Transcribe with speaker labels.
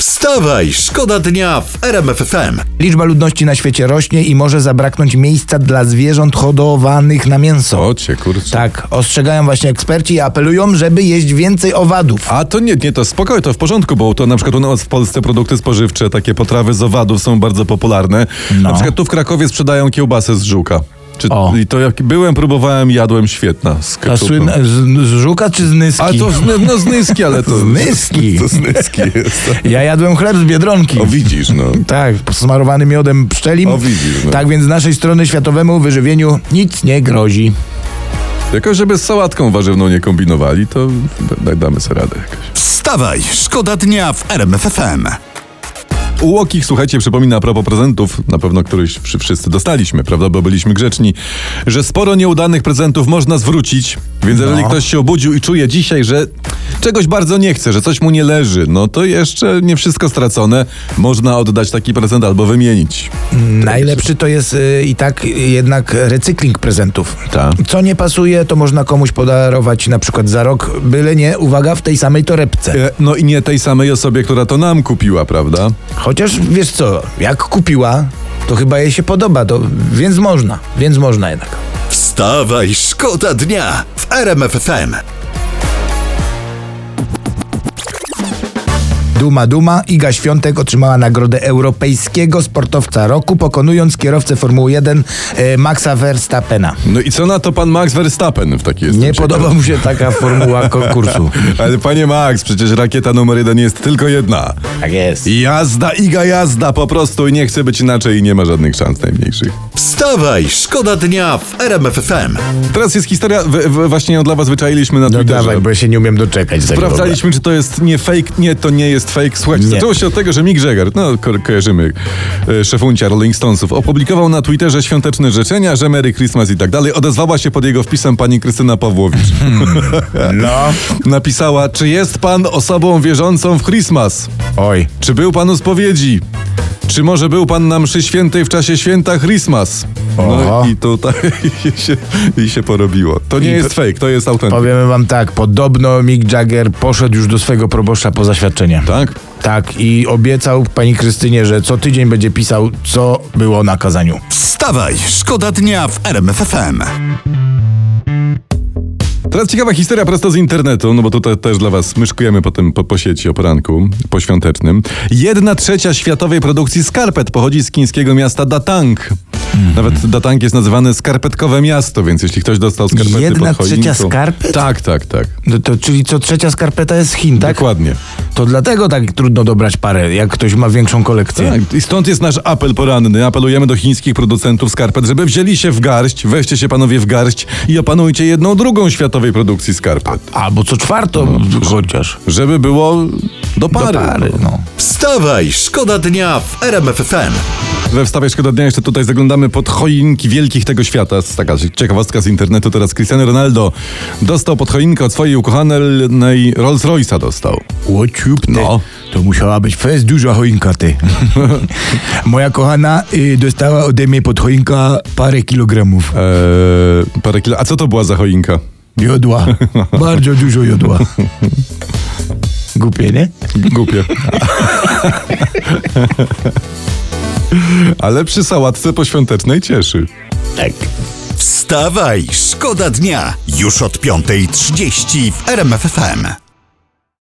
Speaker 1: Wstawaj, szkoda dnia w RMFFM.
Speaker 2: Liczba ludności na świecie rośnie i może zabraknąć miejsca dla zwierząt hodowanych na mięso.
Speaker 3: O cię, kurczę.
Speaker 2: Tak, ostrzegają właśnie eksperci i apelują, żeby jeść więcej owadów.
Speaker 3: A to nie, nie, to spokojnie, to w porządku, bo to na przykład u nas w Polsce produkty spożywcze, takie potrawy z owadów są bardzo popularne.
Speaker 2: No.
Speaker 3: Na przykład tu w Krakowie sprzedają kiełbasę z żuka. Czy,
Speaker 2: O.
Speaker 3: I to jak byłem, próbowałem, jadłem, świetna. Z
Speaker 2: Ta
Speaker 3: ketchupem.
Speaker 2: słynna z, z żuka czy z nyski?
Speaker 3: A to z, no, z nyski, ale to...
Speaker 2: Z nyski.
Speaker 3: To z nyski jest.
Speaker 2: Ja jadłem chleb z Biedronki.
Speaker 3: O widzisz, no.
Speaker 2: Tak, posmarowany miodem pszczelim.
Speaker 3: O, widzisz, no.
Speaker 2: Tak więc z naszej strony światowemu wyżywieniu nic nie grozi.
Speaker 3: Tylko żeby z sałatką warzywną nie kombinowali, to da- damy sobie radę jakoś.
Speaker 1: Wstawaj, szkoda dnia w RMFFM.
Speaker 3: Łokich, słuchajcie, przypomina a propos prezentów, na pewno któryś wszy- wszyscy dostaliśmy, prawda, bo byliśmy grzeczni, że sporo nieudanych prezentów można zwrócić, więc jeżeli
Speaker 2: No.
Speaker 3: ktoś się obudził i czuje dzisiaj, że czegoś bardzo nie chce, że coś mu nie leży, no to jeszcze nie wszystko stracone, można oddać taki prezent albo wymienić.
Speaker 2: Najlepszy to jest y, i tak y, jednak recykling prezentów.
Speaker 3: Tak.
Speaker 2: Co nie pasuje, to można komuś podarować na przykład za rok, byle nie, uwaga, w tej samej torebce.
Speaker 3: E, No i nie tej samej osobie, która to nam kupiła, prawda?
Speaker 2: Chociaż wiesz co, jak kupiła, to chyba jej się podoba, to więc można, więc można jednak.
Speaker 1: Wstawaj, szkoda dnia w RMFFM.
Speaker 2: Duma, duma, Iga Świątek otrzymała nagrodę Europejskiego Sportowca Roku, pokonując kierowcę Formuły 1 e, Maxa Verstappena.
Speaker 3: No i co na to pan Max Verstappen w takiej
Speaker 2: Nie podoba mu się taka formuła konkursu.
Speaker 3: Ale panie Max, przecież rakieta numer jeden jest tylko jedna.
Speaker 2: Tak jest.
Speaker 3: Jazda, Iga jazda po prostu i nie chce być inaczej i nie ma żadnych szans najmniejszych.
Speaker 1: Wstawaj, szkoda dnia w RMFFM.
Speaker 3: Teraz jest historia, w, w, właśnie ją dla was wyczailiśmy na
Speaker 2: No
Speaker 3: Twitterze.
Speaker 2: dawaj, bo ja się nie umiem doczekać. tego w
Speaker 3: Sprawdzaliśmy, czy to jest nie fake. Nie, to nie jest fake. Słuchajcie,
Speaker 2: Nie.
Speaker 3: zaczęło się od tego, że Mick Jagger, no ko kojarzymy, e, szefuncia Rolling Stonesów, opublikował na Twitterze świąteczne życzenia, że Merry Christmas i tak dalej. Odezwała się pod jego wpisem pani Krystyna Pawłowicz.
Speaker 2: ogóle. No,
Speaker 3: Napisała, czy jest pan osobą wierzącą w Christmas?
Speaker 2: oj.
Speaker 3: Czy był pan u spowiedzi? Czy może był pan na mszy świętej w czasie święta Christmas?
Speaker 2: Oho.
Speaker 3: No i tutaj się, i się porobiło. To nie jest fake, to jest autentyk.
Speaker 2: Powiemy wam tak, podobno Mick Jagger poszedł już do swojego proboszcza po zaświadczenie.
Speaker 3: Tak?
Speaker 2: Tak, i obiecał pani Krystynie, że co tydzień będzie pisał, co było na kazaniu.
Speaker 1: Wstawaj, szkoda dnia w RMFFM.
Speaker 3: Teraz ciekawa historia prosto z internetu, no bo tutaj też dla was myszkujemy potem po, po sieci o poranku poświątecznym. Jedna trzecia światowej produkcji skarpet pochodzi z chińskiego miasta Datang. Nawet Datang jest nazywane skarpetkowe miasto, więc jeśli ktoś dostał skarpety
Speaker 2: Jedna
Speaker 3: pod choinką...
Speaker 2: trzecia skarpet?
Speaker 3: Tak, tak, tak.
Speaker 2: No to, czyli co trzecia skarpeta jest z Chin, tak?
Speaker 3: Dokładnie.
Speaker 2: To dlatego tak trudno dobrać parę, jak ktoś ma większą kolekcję.
Speaker 3: Tak, i stąd jest nasz apel poranny. Apelujemy do chińskich producentów skarpet, żeby wzięli się w garść, weźcie się panowie w garść i opanujcie jedną drugą światowej produkcji skarpet.
Speaker 2: Albo co czwartą
Speaker 3: No,
Speaker 2: chociaż.
Speaker 3: Żeby było do pary.
Speaker 2: Do pary, no.
Speaker 1: Wstawaj, szkoda dnia w RMFFM.
Speaker 3: We wstawie szkoda dnia jeszcze tutaj zaglądamy pod choinki wielkich tego świata. Jest Taka ciekawostka z internetu teraz. Cristiano Ronaldo dostał pod choinkę od swojej ukochanej Rolls Royce'a dostał.
Speaker 2: Łociup, ty.
Speaker 3: No.
Speaker 2: To musiała być fest duża choinka, ty. Moja kochana y, dostała ode mnie pod choinka parę kilogramów
Speaker 3: Eee, parę kilo. A co to była za choinka?
Speaker 2: jodła. Bardzo dużo jodła. Głupie, nie?
Speaker 3: Głupie. Ale przy sałatce poświątecznej cieszy.
Speaker 2: Tak.
Speaker 1: Wstawaj, szkoda dnia już od 5.30 w RMFFM.